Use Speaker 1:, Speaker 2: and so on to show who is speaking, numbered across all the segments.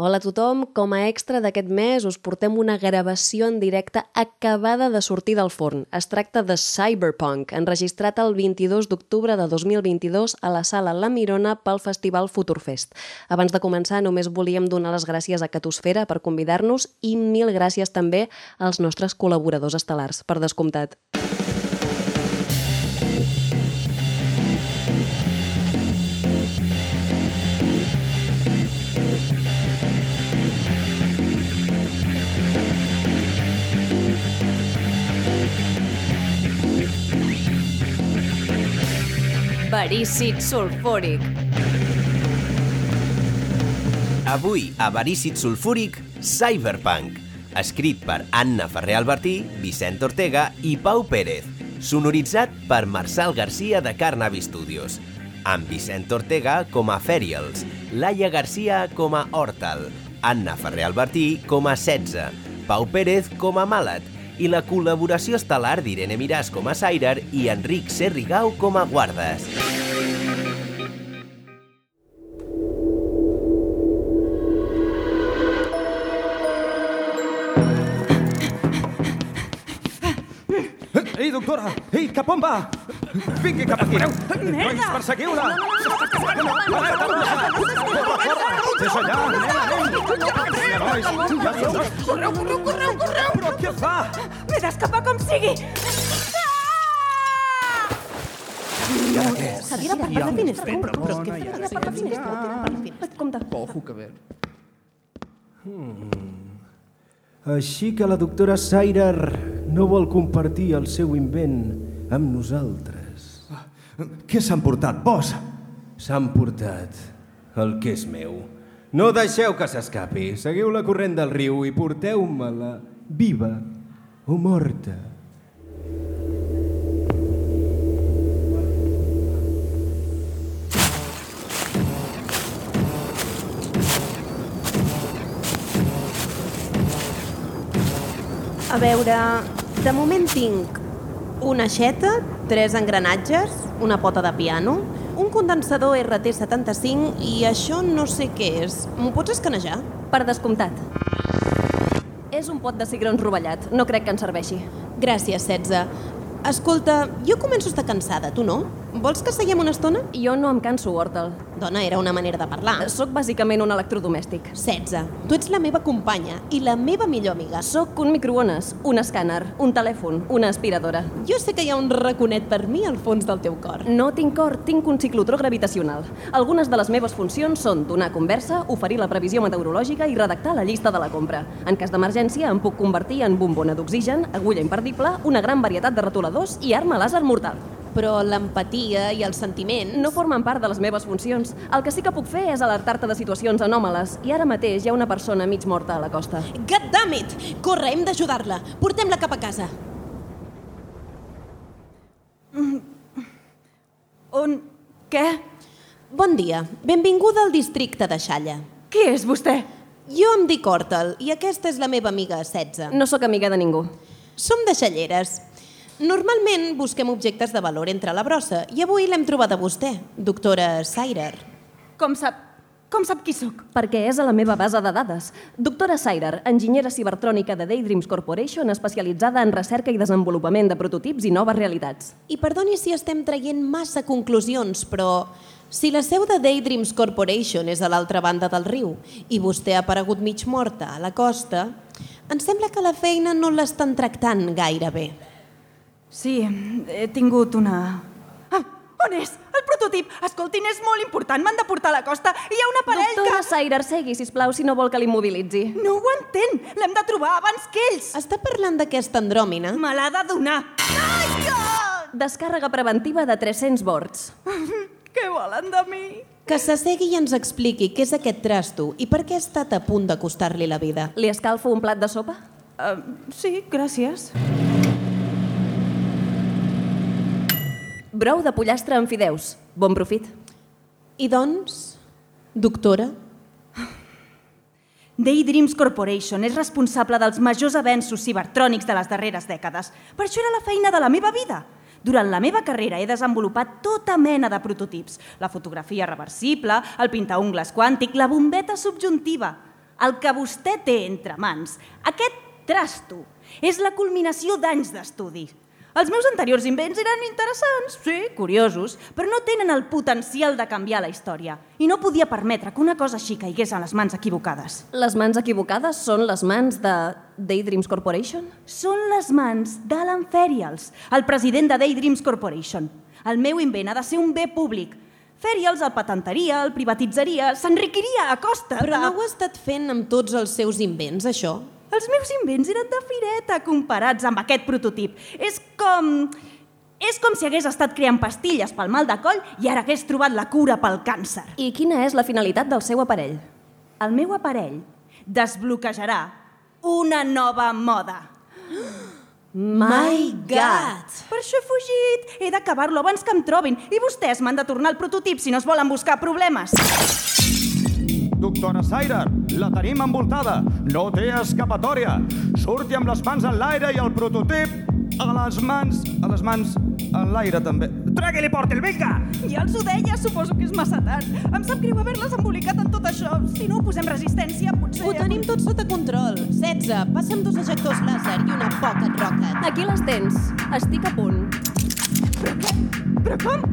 Speaker 1: Hola a tothom, com a extra d'aquest mes us portem una gravació en directe acabada de sortir del forn. Es tracta de Cyberpunk, enregistrat el 22 d'octubre de 2022 a la sala La Mirona pel Festival Futurfest. Abans de començar, només volíem donar les gràcies a Catosfera per convidar-nos i mil gràcies també als nostres col·laboradors estel·lars, per descomptat.
Speaker 2: Verícid sulfúric.
Speaker 3: Avui, a Verícid Sulfúric, Cyberpunk. Escrit per Anna Ferrer Albertí, Vicent Ortega i Pau Pérez. Sonoritzat per Marçal Garcia de Carnavi Studios. Amb Vicent Ortega com a Ferials, Laia Garcia com a Hortal, Anna Ferrer Albertí com a 16, Pau Pérez com a Malat i la col·laboració estel·lar d'Irene Miràs com a Sairer i Enric Serrigau com a Guardes.
Speaker 4: Ei, doctora! Ei, cap on va? Vingui cap aquí! Merda! Doncs perseguiu-la! És allà! Nois, ja som dos.
Speaker 5: Correu, correu, correu, correu!
Speaker 4: Però què fa?
Speaker 5: M'he d'escapar com sigui!
Speaker 6: S'havia de parlar de finestra. Però és que s'havia de parlar de finestra. Compte.
Speaker 7: Ojo, que ver.
Speaker 4: Així que la doctora Sairer no vol compartir el seu invent amb nosaltres.
Speaker 7: Ah, Què s'han portat, vos?
Speaker 4: S'han portat el que és meu. No deixeu que s'escapi. Seguiu la corrent del riu i porteu-me-la viva o morta.
Speaker 6: A veure, de moment tinc una aixeta, tres engranatges, una pota de piano, un condensador RT75 i això no sé què és. M'ho pots escanejar?
Speaker 1: Per descomptat. És un pot de cigrons rovellat, no crec que en serveixi.
Speaker 6: Gràcies, 16. Escolta, jo començo a estar cansada, tu no? Vols que seiem una estona?
Speaker 1: Jo no em canso, Hortel.
Speaker 6: Dona, era una manera de parlar.
Speaker 1: Soc bàsicament un electrodomèstic.
Speaker 6: 16. Tu ets la meva companya i la meva millor amiga.
Speaker 1: Soc un microones, un escàner, un telèfon, una aspiradora.
Speaker 6: Jo sé que hi ha un raconet per mi al fons del teu cor.
Speaker 1: No tinc cor, tinc un ciclotró gravitacional. Algunes de les meves funcions són donar conversa, oferir la previsió meteorològica i redactar la llista de la compra. En cas d'emergència em puc convertir en bombona d'oxigen, agulla imperdible, una gran varietat de retoladors i arma làser mortal.
Speaker 6: Però l'empatia i el sentiment...
Speaker 1: No formen part de les meves funcions. El que sí que puc fer és alertar-te de situacions anòmales i ara mateix hi ha una persona mig morta a la costa.
Speaker 6: God damn it! Corre, hem d'ajudar-la. Portem-la cap a casa.
Speaker 1: On? Què?
Speaker 6: Bon dia. Benvinguda al districte de Xalla.
Speaker 1: Qui és vostè?
Speaker 6: Jo em dic Hortel i aquesta és la meva amiga 16.
Speaker 1: No sóc amiga de ningú.
Speaker 6: Som de Xalleres. Normalment busquem objectes de valor entre la brossa i avui l'hem trobada a vostè, doctora Sairer.
Speaker 5: Com sap... Com sap qui sóc?
Speaker 1: Perquè és a la meva base de dades. Doctora Sairer, enginyera cibertrònica de Daydreams Corporation, especialitzada en recerca i desenvolupament de prototips i noves realitats.
Speaker 6: I perdoni si estem traient massa conclusions, però si la seu de Daydreams Corporation és a l'altra banda del riu i vostè ha aparegut mig morta a la costa, em sembla que la feina no l'estan tractant gaire bé.
Speaker 5: Sí, he tingut una... Ah, on és? El prototip! Escoltin, és molt important, m'han de portar a la costa. Hi ha un aparell
Speaker 1: Doctora Sairer, segui, sisplau, si no vol que l'immobilitzi.
Speaker 5: que... No ho entén! L'hem de trobar abans que ells!
Speaker 6: Està parlant d'aquesta andròmina?
Speaker 5: Me l'ha de donar! Ai, que...
Speaker 1: Descàrrega preventiva de 300 bords.
Speaker 5: Què volen de mi?
Speaker 6: Que s'assegui i ens expliqui què és aquest trasto i per què ha estat a punt de costar-li la vida.
Speaker 1: Li escalfo un plat de sopa?
Speaker 5: Uh, sí, gràcies.
Speaker 1: Brou de pollastre amb fideus. Bon profit.
Speaker 6: I doncs, doctora,
Speaker 5: Daydreams Corporation és responsable dels majors avenços cibertrònics de les darreres dècades. Per això era la feina de la meva vida. Durant la meva carrera he desenvolupat tota mena de prototips. La fotografia reversible, el pintaungles quàntic, la bombeta subjuntiva. el que vostè té entre mans, aquest trasto, és la culminació d'anys d'estudi. Els meus anteriors invents eren interessants, sí, curiosos, però no tenen el potencial de canviar la història. I no podia permetre que una cosa així caigués a les mans equivocades.
Speaker 1: Les mans equivocades són les mans de Daydreams Corporation?
Speaker 5: Són les mans d'Alan Ferials, el president de Daydreams Corporation. El meu invent ha de ser un bé públic. Ferials el patentaria, el privatitzaria, s'enriquiria a costa
Speaker 6: Però
Speaker 5: de...
Speaker 6: no ho ha estat fent amb tots els seus invents, això?
Speaker 5: Els meus invents eren de fireta comparats amb aquest prototip. És com... És com si hagués estat creant pastilles pel mal de coll i ara hagués trobat la cura pel càncer.
Speaker 1: I quina és la finalitat del seu aparell?
Speaker 5: El meu aparell desbloquejarà una nova moda.
Speaker 6: My God!
Speaker 5: Per això he fugit. He d'acabar-lo abans que em trobin. I vostès m'han de tornar el prototip si no es volen buscar problemes.
Speaker 4: Doctora Sider, la tenim envoltada. No té escapatòria. Surti amb les mans en l'aire i el prototip a les mans... a les mans en l'aire, també. Tregui-li, porti-l, vinga!
Speaker 5: Ja els ho deia, suposo que és massa tard. Em sap greu haver-les embolicat en tot això. Si no posem resistència, potser...
Speaker 6: Ho tenim tot sota control. 16, passa'm dos ejectors làser i una pocket rocket.
Speaker 1: Aquí les tens. Estic a punt.
Speaker 5: Però com?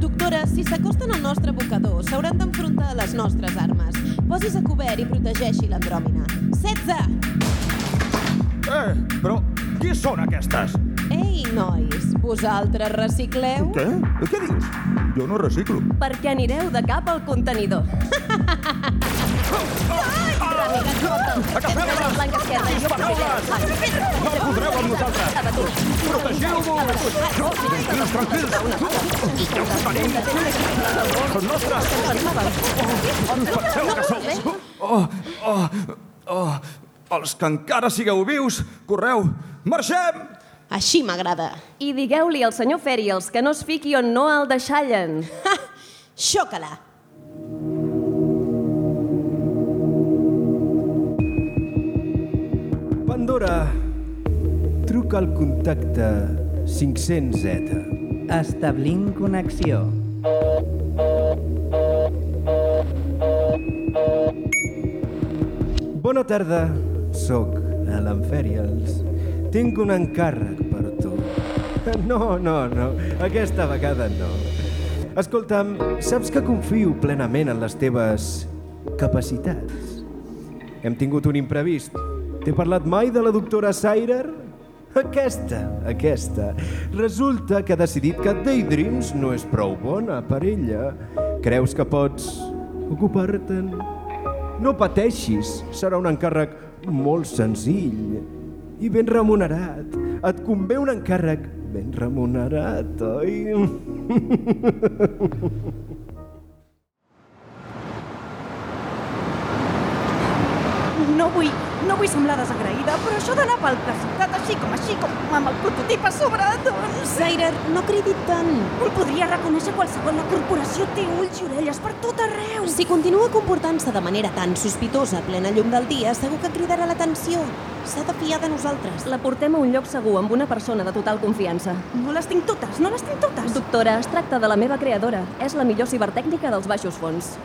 Speaker 6: Doctora, si s'acosten al nostre abocador, s'hauran d'enfrontar a les nostres armes. Posis a cobert i protegeixi l'andròmina. 16!
Speaker 4: Eh, però qui són aquestes?
Speaker 6: Ei, nois, vosaltres recicleu?
Speaker 4: Què? Què dius? Jo no reciclo.
Speaker 1: Perquè anireu de cap al contenidor.
Speaker 4: Agafeu-les!
Speaker 1: Blanca esquerra, jo
Speaker 4: Dispareu-les! No podreu amb nosaltres! Protegeu-vos! Tranquils, tranquils! Ja us tenim! Són nostres! On penseu que sou? Oh, oh, oh! Els que encara sigueu vius, correu! Marxem!
Speaker 6: Així m'agrada.
Speaker 1: I digueu-li al senyor Ferials que no es fiqui on no el deixallen.
Speaker 6: Ha! Xoca-la!
Speaker 8: Pandora, truca al contacte 500Z.
Speaker 9: Establint connexió.
Speaker 8: Bona tarda, sóc a l'Enferials. Tinc un encàrrec per tu. No, no, no, aquesta vegada no. Escolta'm, saps que confio plenament en les teves capacitats. Hem tingut un imprevist. T'he parlat mai de la doctora Sairer? Aquesta, aquesta. Resulta que ha decidit que Daydreams no és prou bona per ella. Creus que pots ocupar-te'n? No pateixis, serà un encàrrec molt senzill i ben remunerat. Et convé un encàrrec ben remunerat, oi?
Speaker 5: No vull, no vull semblar desagraïda, però això d'anar pel ciutat així com així, com amb el prototip a sobre, doncs...
Speaker 6: Zairer, no cridi tant.
Speaker 5: Un podria reconèixer qualsevol. La corporació té ulls i orelles per tot arreu.
Speaker 6: Si continua comportant-se de manera tan sospitosa a plena llum del dia, segur que cridarà l'atenció. S'ha de fiar de nosaltres.
Speaker 1: La portem a un lloc segur amb una persona de total confiança.
Speaker 5: No les tinc totes, no les tinc totes.
Speaker 1: Doctora, es tracta de la meva creadora. És la millor cibertècnica dels baixos fons.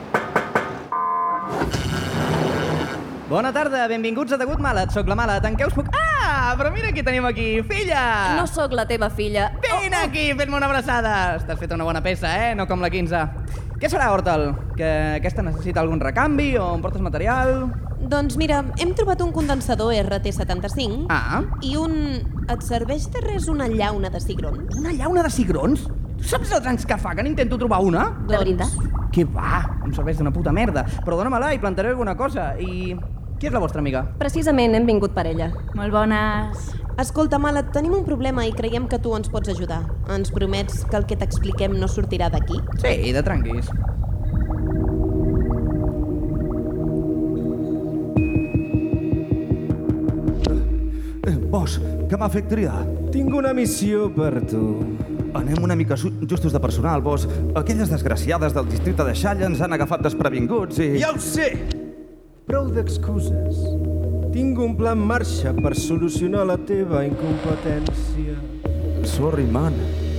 Speaker 9: Bona tarda, benvinguts a Degut Malat. Soc la Mala, tanqueu-vos poc... Ah, però mira qui tenim aquí, filla!
Speaker 1: No sóc la teva filla. Oh,
Speaker 9: Vine aquí, fes-me una abraçada! T'has fet una bona peça, eh? No com la 15. Què serà, Hortal? Que aquesta necessita algun recanvi o em portes material?
Speaker 6: Doncs mira, hem trobat un condensador RT75
Speaker 9: Ah.
Speaker 6: i un... Et serveix de res una llauna de cigrons?
Speaker 9: Una llauna de cigrons? Tu saps els anys que fa que n'intento trobar una?
Speaker 1: De veritat?
Speaker 6: Doncs-
Speaker 9: Què va? Em serveix d'una puta merda. Però dóna-me-la i plantaré alguna cosa. I... Qui és la vostra amiga?
Speaker 1: Precisament hem vingut per ella.
Speaker 5: Molt bones.
Speaker 6: Escolta, Mala, tenim un problema i creiem que tu ens pots ajudar. Ens promets que el que t'expliquem no sortirà d'aquí?
Speaker 9: Sí, de tranquis.
Speaker 4: Eh, boss, que m'ha fet triar.
Speaker 8: Tinc una missió per tu.
Speaker 4: Anem una mica su- justos de personal, boss. Aquelles desgraciades del districte de Xalla ens han agafat desprevinguts i...
Speaker 8: Ja ho sé! Prou d'excuses. Tinc un pla en marxa per solucionar la teva incompetència.
Speaker 4: Sorry, man.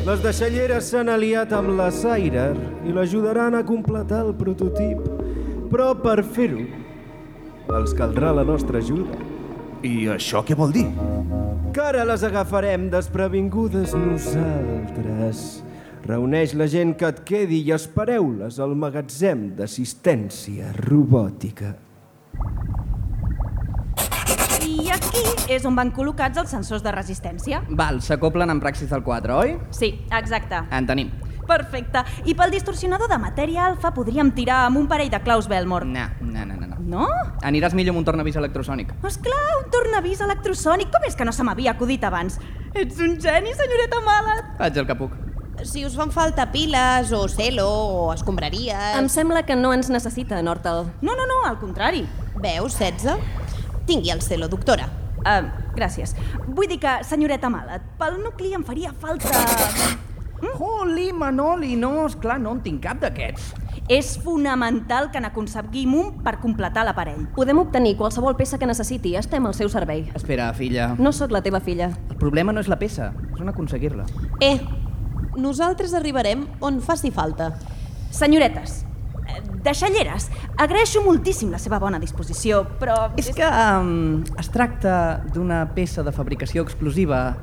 Speaker 8: Les deixalleres s'han aliat amb la Sairer i l'ajudaran a completar el prototip. Però per fer-ho Els caldrà la nostra ajuda.
Speaker 7: I això què vol dir?
Speaker 8: Que ara les agafarem desprevingudes nosaltres. Reuneix la gent que et quedi i espereu-les al magatzem d'assistència robòtica.
Speaker 5: I aquí és on van col·locats els sensors de resistència.
Speaker 9: Val, s'acoplen amb praxis del 4, oi?
Speaker 5: Sí, exacte.
Speaker 9: En tenim.
Speaker 5: Perfecte. I pel distorsionador de matèria alfa podríem tirar amb un parell de claus Belmore.
Speaker 9: No, no, no, no. no.
Speaker 5: No?
Speaker 9: Aniràs millor amb un tornavís electrosònic.
Speaker 5: Esclar, un tornavís electrosònic. Com és que no se m'havia acudit abans? Ets un geni, senyoreta mala.
Speaker 9: Faig el que puc.
Speaker 6: Si us fan falta piles, o celo, o escombraries...
Speaker 1: Em sembla que no ens necessita, Nortal.
Speaker 5: No, no, no, al contrari.
Speaker 6: Veus, 16? Tingui el celo, doctora.
Speaker 5: Uh, gràcies. Vull dir que, senyoreta mala, pel nucli em faria falta...
Speaker 9: Mm? Holy Manoli, no, esclar, no en tinc cap d'aquests.
Speaker 5: És fonamental que n'aconseguim un per completar l'aparell.
Speaker 1: Podem obtenir qualsevol peça que necessiti. Estem al seu servei.
Speaker 9: Espera, filla.
Speaker 1: No sóc la teva filla.
Speaker 9: El problema no és la peça, és on aconseguir-la.
Speaker 6: Eh, nosaltres arribarem on faci falta.
Speaker 5: Senyoretes, eh, deixalleres, agraeixo moltíssim la seva bona disposició, però...
Speaker 9: És que um, es tracta d'una peça de fabricació exclusiva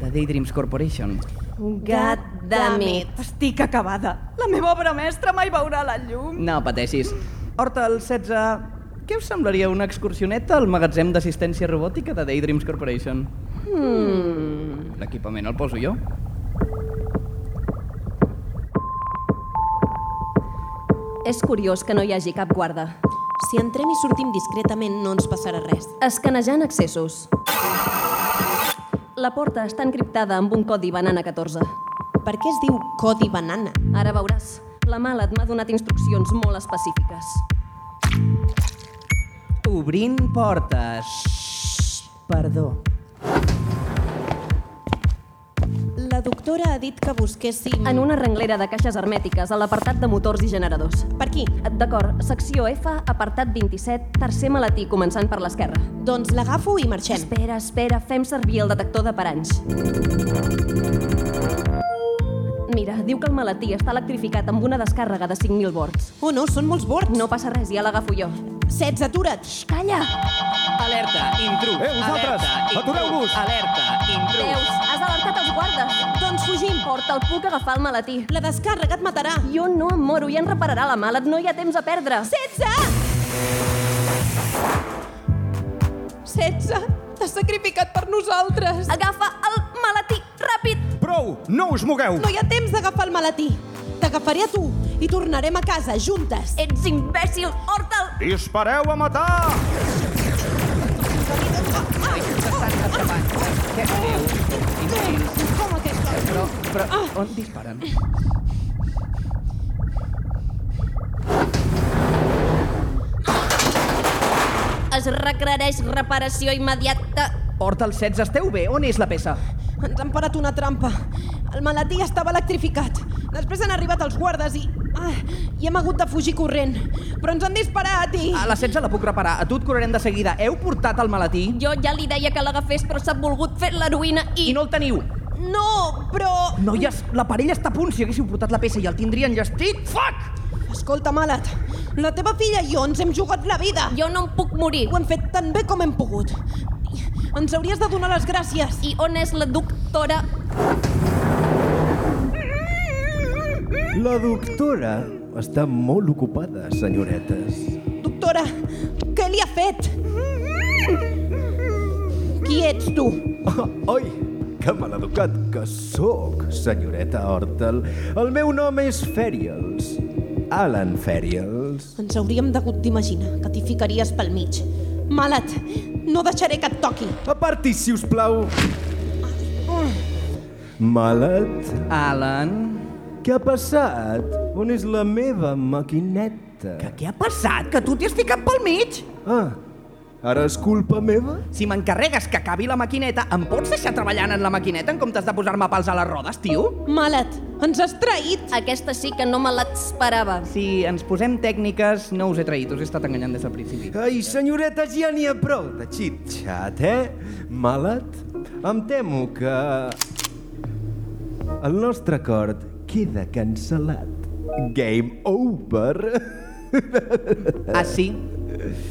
Speaker 9: de Daydreams Corporation.
Speaker 1: God damn it.
Speaker 5: Estic acabada. La meva obra mestra mai veurà la llum.
Speaker 9: No pateixis. Horta, el 16... Què us semblaria una excursioneta al magatzem d'assistència robòtica de Daydreams Corporation? Hmm. L'equipament el poso jo.
Speaker 1: És curiós que no hi hagi cap guarda.
Speaker 6: Si entrem i sortim discretament no ens passarà res.
Speaker 1: Escanejant accessos. La porta està encriptada amb un codi banana 14.
Speaker 6: Per què es diu Codi Banana?
Speaker 1: Ara veuràs. La mala et m'ha donat instruccions molt específiques.
Speaker 9: Obrint portes. Perdó.
Speaker 6: La doctora ha dit que busquéssim...
Speaker 1: En una renglera de caixes hermètiques a l'apartat de motors i generadors.
Speaker 6: Per aquí.
Speaker 1: D'acord, secció F, apartat 27, tercer maletí, començant per l'esquerra.
Speaker 6: Doncs l'agafo i marxem.
Speaker 1: Espera, espera, fem servir el detector de paranys. Mira, diu que el maletí està electrificat amb una descàrrega de 5.000 volts.
Speaker 6: Oh no, són molts bords.
Speaker 1: No passa res, ja l'agafo jo.
Speaker 6: 16, atura't.
Speaker 1: Calla!
Speaker 9: Alerta, intrus.
Speaker 4: Eh, vosaltres,
Speaker 9: Alerta, intrus.
Speaker 4: atureu-vos.
Speaker 9: Alerta, intrus.
Speaker 1: Veus, has alertat els guardes.
Speaker 6: Doncs fugim.
Speaker 1: Porta, el puc agafar el maletí.
Speaker 6: La descàrrega et matarà.
Speaker 1: Jo no em moro, ja en repararà la mala, no hi ha temps a perdre.
Speaker 6: 16! 16! T'has sacrificat per nosaltres.
Speaker 1: Agafa el maletí, ràpid!
Speaker 4: Prou! No us mogueu!
Speaker 6: No hi ha temps d'agafar el maletí. T'agafaré a tu i tornarem a casa, juntes.
Speaker 1: Ets imbècil, Hortal!
Speaker 4: Dispareu a matar!
Speaker 6: Eh, Com aquesta?
Speaker 9: Però, però on disparen?
Speaker 1: Es requereix reparació immediata.
Speaker 9: Horta, el 16, esteu bé? On és la peça?
Speaker 6: Ens han parat una trampa. El maletí estava electrificat. Després han arribat els guardes i... Ah, I hem hagut de fugir corrent. Però ens han disparat i...
Speaker 9: A la 16 la puc reparar. A tu et curarem de seguida. Heu portat el maletí?
Speaker 1: Jo ja li deia que l'agafés, però s'ha volgut fer l'heroïna i...
Speaker 9: I no el teniu.
Speaker 6: No, però...
Speaker 9: Noies, la parella està a punt. Si haguéssiu portat la peça i el tindrien llestit... Fuck!
Speaker 6: Escolta, Malat, la teva filla i jo ens hem jugat la vida.
Speaker 1: Jo no em puc morir.
Speaker 6: Ho hem fet tan bé com hem pogut. Ens hauries de donar les gràcies.
Speaker 1: I on és la doctora?
Speaker 8: La doctora està molt ocupada, senyoretes.
Speaker 6: Doctora, què li ha fet? Qui ets tu?
Speaker 8: Oh, oi, que maleducat que sóc, senyoreta Hortel. El meu nom és Ferials. Alan Ferials.
Speaker 6: Ens hauríem degut d'imaginar que t'hi ficaries pel mig. Malat, no deixaré que et toqui.
Speaker 8: Aparti, si us plau. Malet,
Speaker 9: Alan...
Speaker 8: què ha passat? On és la meva maquineta?
Speaker 9: Què ha passat? Que tu t'hi has ficat pel mig?
Speaker 8: Ah, ara és culpa meva?
Speaker 9: Si m'encarregues que acabi la maquineta, em pots deixar treballant en la maquineta en comptes de posar-me pals a les rodes, tio?
Speaker 6: Malat, ens has traït.
Speaker 1: Aquesta sí que no me l'esperava.
Speaker 9: Si ens posem tècniques, no us he traït, us he estat enganyant des del principi.
Speaker 8: Ai, senyoretes, ja n'hi ha e prou de xit-xat, eh? Malet, em temo que... El nostre acord queda cancel·lat. Game over.
Speaker 9: Ah, sí?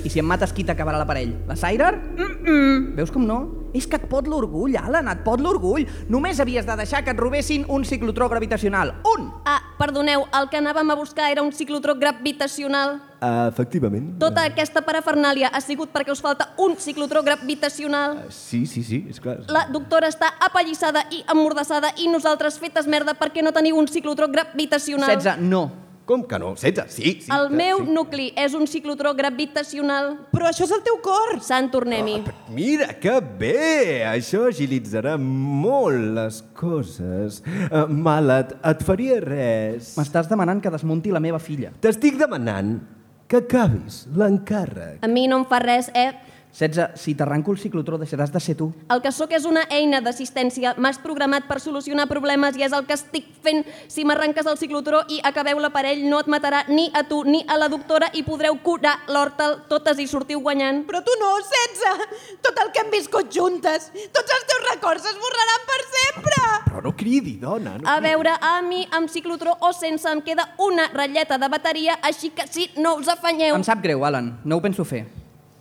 Speaker 9: I si em mates, qui t'acabarà l'aparell? La Sirer? Mm -mm. Veus com no? És que et pot l'orgull, Alan, et pot l'orgull. Només havies de deixar que et robessin un ciclotró gravitacional. Un!
Speaker 1: Ah, perdoneu, el que anàvem a buscar era un ciclotró gravitacional.
Speaker 8: Ah, efectivament.
Speaker 1: Tota aquesta parafernàlia ha sigut perquè us falta un ciclotró gravitacional.
Speaker 8: Sí, sí, sí, és clar.
Speaker 1: La doctora està apallissada i emmordassada i nosaltres fetes merda perquè no teniu un ciclotró gravitacional.
Speaker 9: 16, no.
Speaker 3: Com que no? 16, sí. sí
Speaker 1: El
Speaker 3: que
Speaker 1: meu
Speaker 3: sí.
Speaker 1: nucli és un ciclotró gravitacional.
Speaker 6: Però això és el teu cor!
Speaker 1: Sant, tornem-hi.
Speaker 8: Mira, que bé! Això agilitzarà molt les coses. Uh, Malat, et faria res.
Speaker 9: M'estàs demanant que desmunti la meva filla.
Speaker 8: T'estic demanant que acabis l'encàrrec.
Speaker 1: A mi no em fa res, eh?
Speaker 9: 16, si t'arranco el ciclotró deixaràs de ser tu.
Speaker 1: El que sóc és una eina d'assistència. M'has programat per solucionar problemes i és el que estic fent. Si m'arrenques el ciclotró i acabeu l'aparell, no et matarà ni a tu ni a la doctora i podreu curar l'hortal. Totes hi sortiu guanyant.
Speaker 6: Però tu no, 16! Tot el que hem viscut juntes, tots els teus records s'esborraran per sempre!
Speaker 8: Però no cridi, dona. No
Speaker 1: A veure, a mi, amb ciclotró o sense, em queda una ratlleta de bateria, així que si no us afanyeu...
Speaker 9: Em sap greu, Alan, no ho penso fer.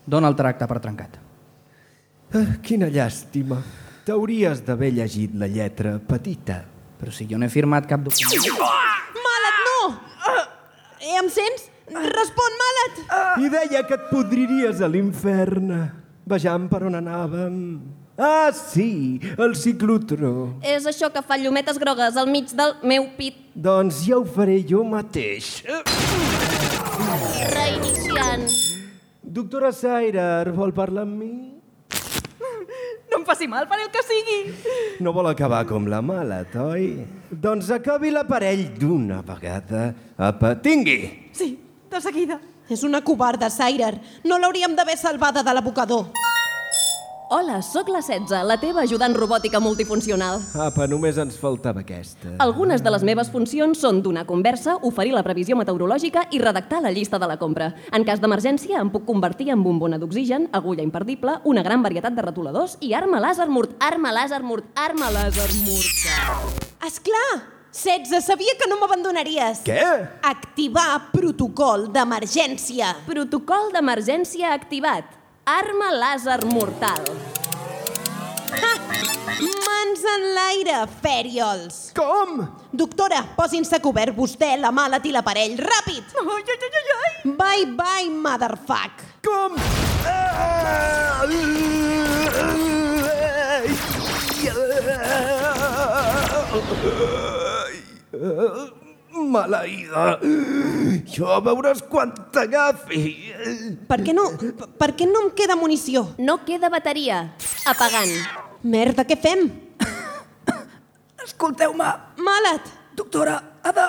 Speaker 9: Dona el tracte per trencat.
Speaker 8: Ah, quina llàstima. T'hauries d'haver llegit la lletra petita.
Speaker 9: Però si jo no he firmat cap document...
Speaker 6: Mala't, no! Eh, em sents? Respon, Mala't!
Speaker 8: Ah! I deia que et podriries a l'infern, vejam per on anàvem. Ah, sí, el ciclotró.
Speaker 1: És això que fa llumetes grogues al mig del meu pit.
Speaker 8: Doncs ja ho faré jo mateix.
Speaker 1: Reiniciant.
Speaker 8: Doctora Saira, vol parlar amb mi?
Speaker 5: No em faci mal, faré el que sigui.
Speaker 8: No vol acabar com la mala, oi? Doncs acabi l'aparell d'una vegada. Apa, tingui!
Speaker 5: Sí, de seguida.
Speaker 6: És una covarda, Sirer. No l'hauríem d'haver salvada de l'abocador.
Speaker 1: Hola, sóc la 16, la teva ajudant robòtica multifuncional.
Speaker 8: Apa, només ens faltava aquesta.
Speaker 1: Algunes de les meves funcions són donar conversa, oferir la previsió meteorològica i redactar la llista de la compra. En cas d'emergència, em puc convertir en bombona d'oxigen, agulla imperdible, una gran varietat de retoladors i arma làser mort, arma làser mort, arma làser mort.
Speaker 6: És clar, 16, sabia que no m'abandonaries.
Speaker 8: Què?
Speaker 6: Activar protocol d'emergència.
Speaker 1: Protocol d'emergència activat. Arma làser mortal.
Speaker 6: Ha! Mans en l'aire, fèriols.
Speaker 8: Com?
Speaker 6: Doctora, posin-se a cobert vostè, la mala i l'aparell. Ràpid!
Speaker 5: Ai, ai, ai, ai, ai.
Speaker 6: Bye, bye, motherfuck.
Speaker 8: Com? Maleïda. Jo veuràs quan t'agafi.
Speaker 6: Per què no, per què no em queda munició?
Speaker 1: No queda bateria. Apagant.
Speaker 6: Merda, què fem?
Speaker 9: Escolteu-me,
Speaker 6: Mala't!
Speaker 9: doctora, ha de,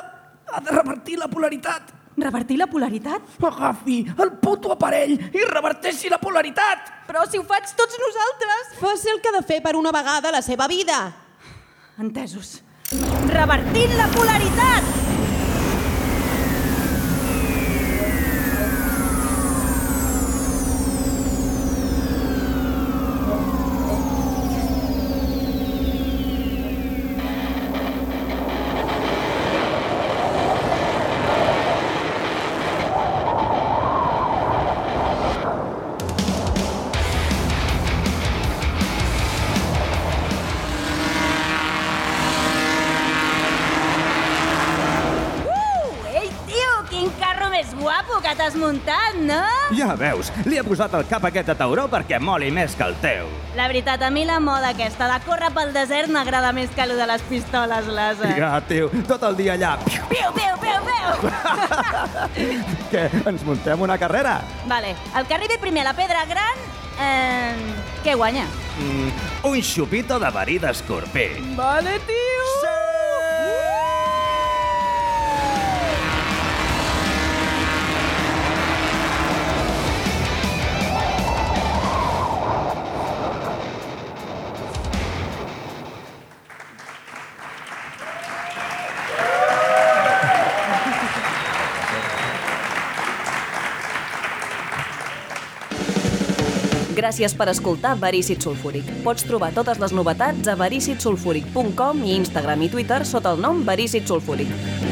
Speaker 9: ha de revertir la polaritat.
Speaker 5: Revertir la polaritat?
Speaker 9: Agafi el puto aparell i reverteixi la polaritat.
Speaker 5: Però si ho faig tots nosaltres.
Speaker 6: Faci el que ha de fer per una vegada a la seva vida.
Speaker 5: Entesos. Revertint la polaritat! Uh, ei, tio, quin carro més guapo que t'has muntat, no?
Speaker 7: Ja veus, li he posat el cap a aquest a tauró perquè moli més que el teu.
Speaker 5: La veritat, a mi la moda aquesta de córrer pel desert m'agrada més que allò de les pistoles láser.
Speaker 7: Ja, tio, tot el dia allà. Piu!
Speaker 5: Piu, piu, piu, piu!
Speaker 7: Què, ens muntem una carrera?
Speaker 5: vale, el que arribi primer a la pedra gran... Eh, què guanya?
Speaker 7: Mm, un xupito de verí d'escorpí.
Speaker 5: Vale, tio!
Speaker 10: Gràcies per escoltar Verícit Sulfúric. Pots trobar totes les novetats a vericitsulfúric.com i Instagram i Twitter sota el nom Verícit Sulfúric.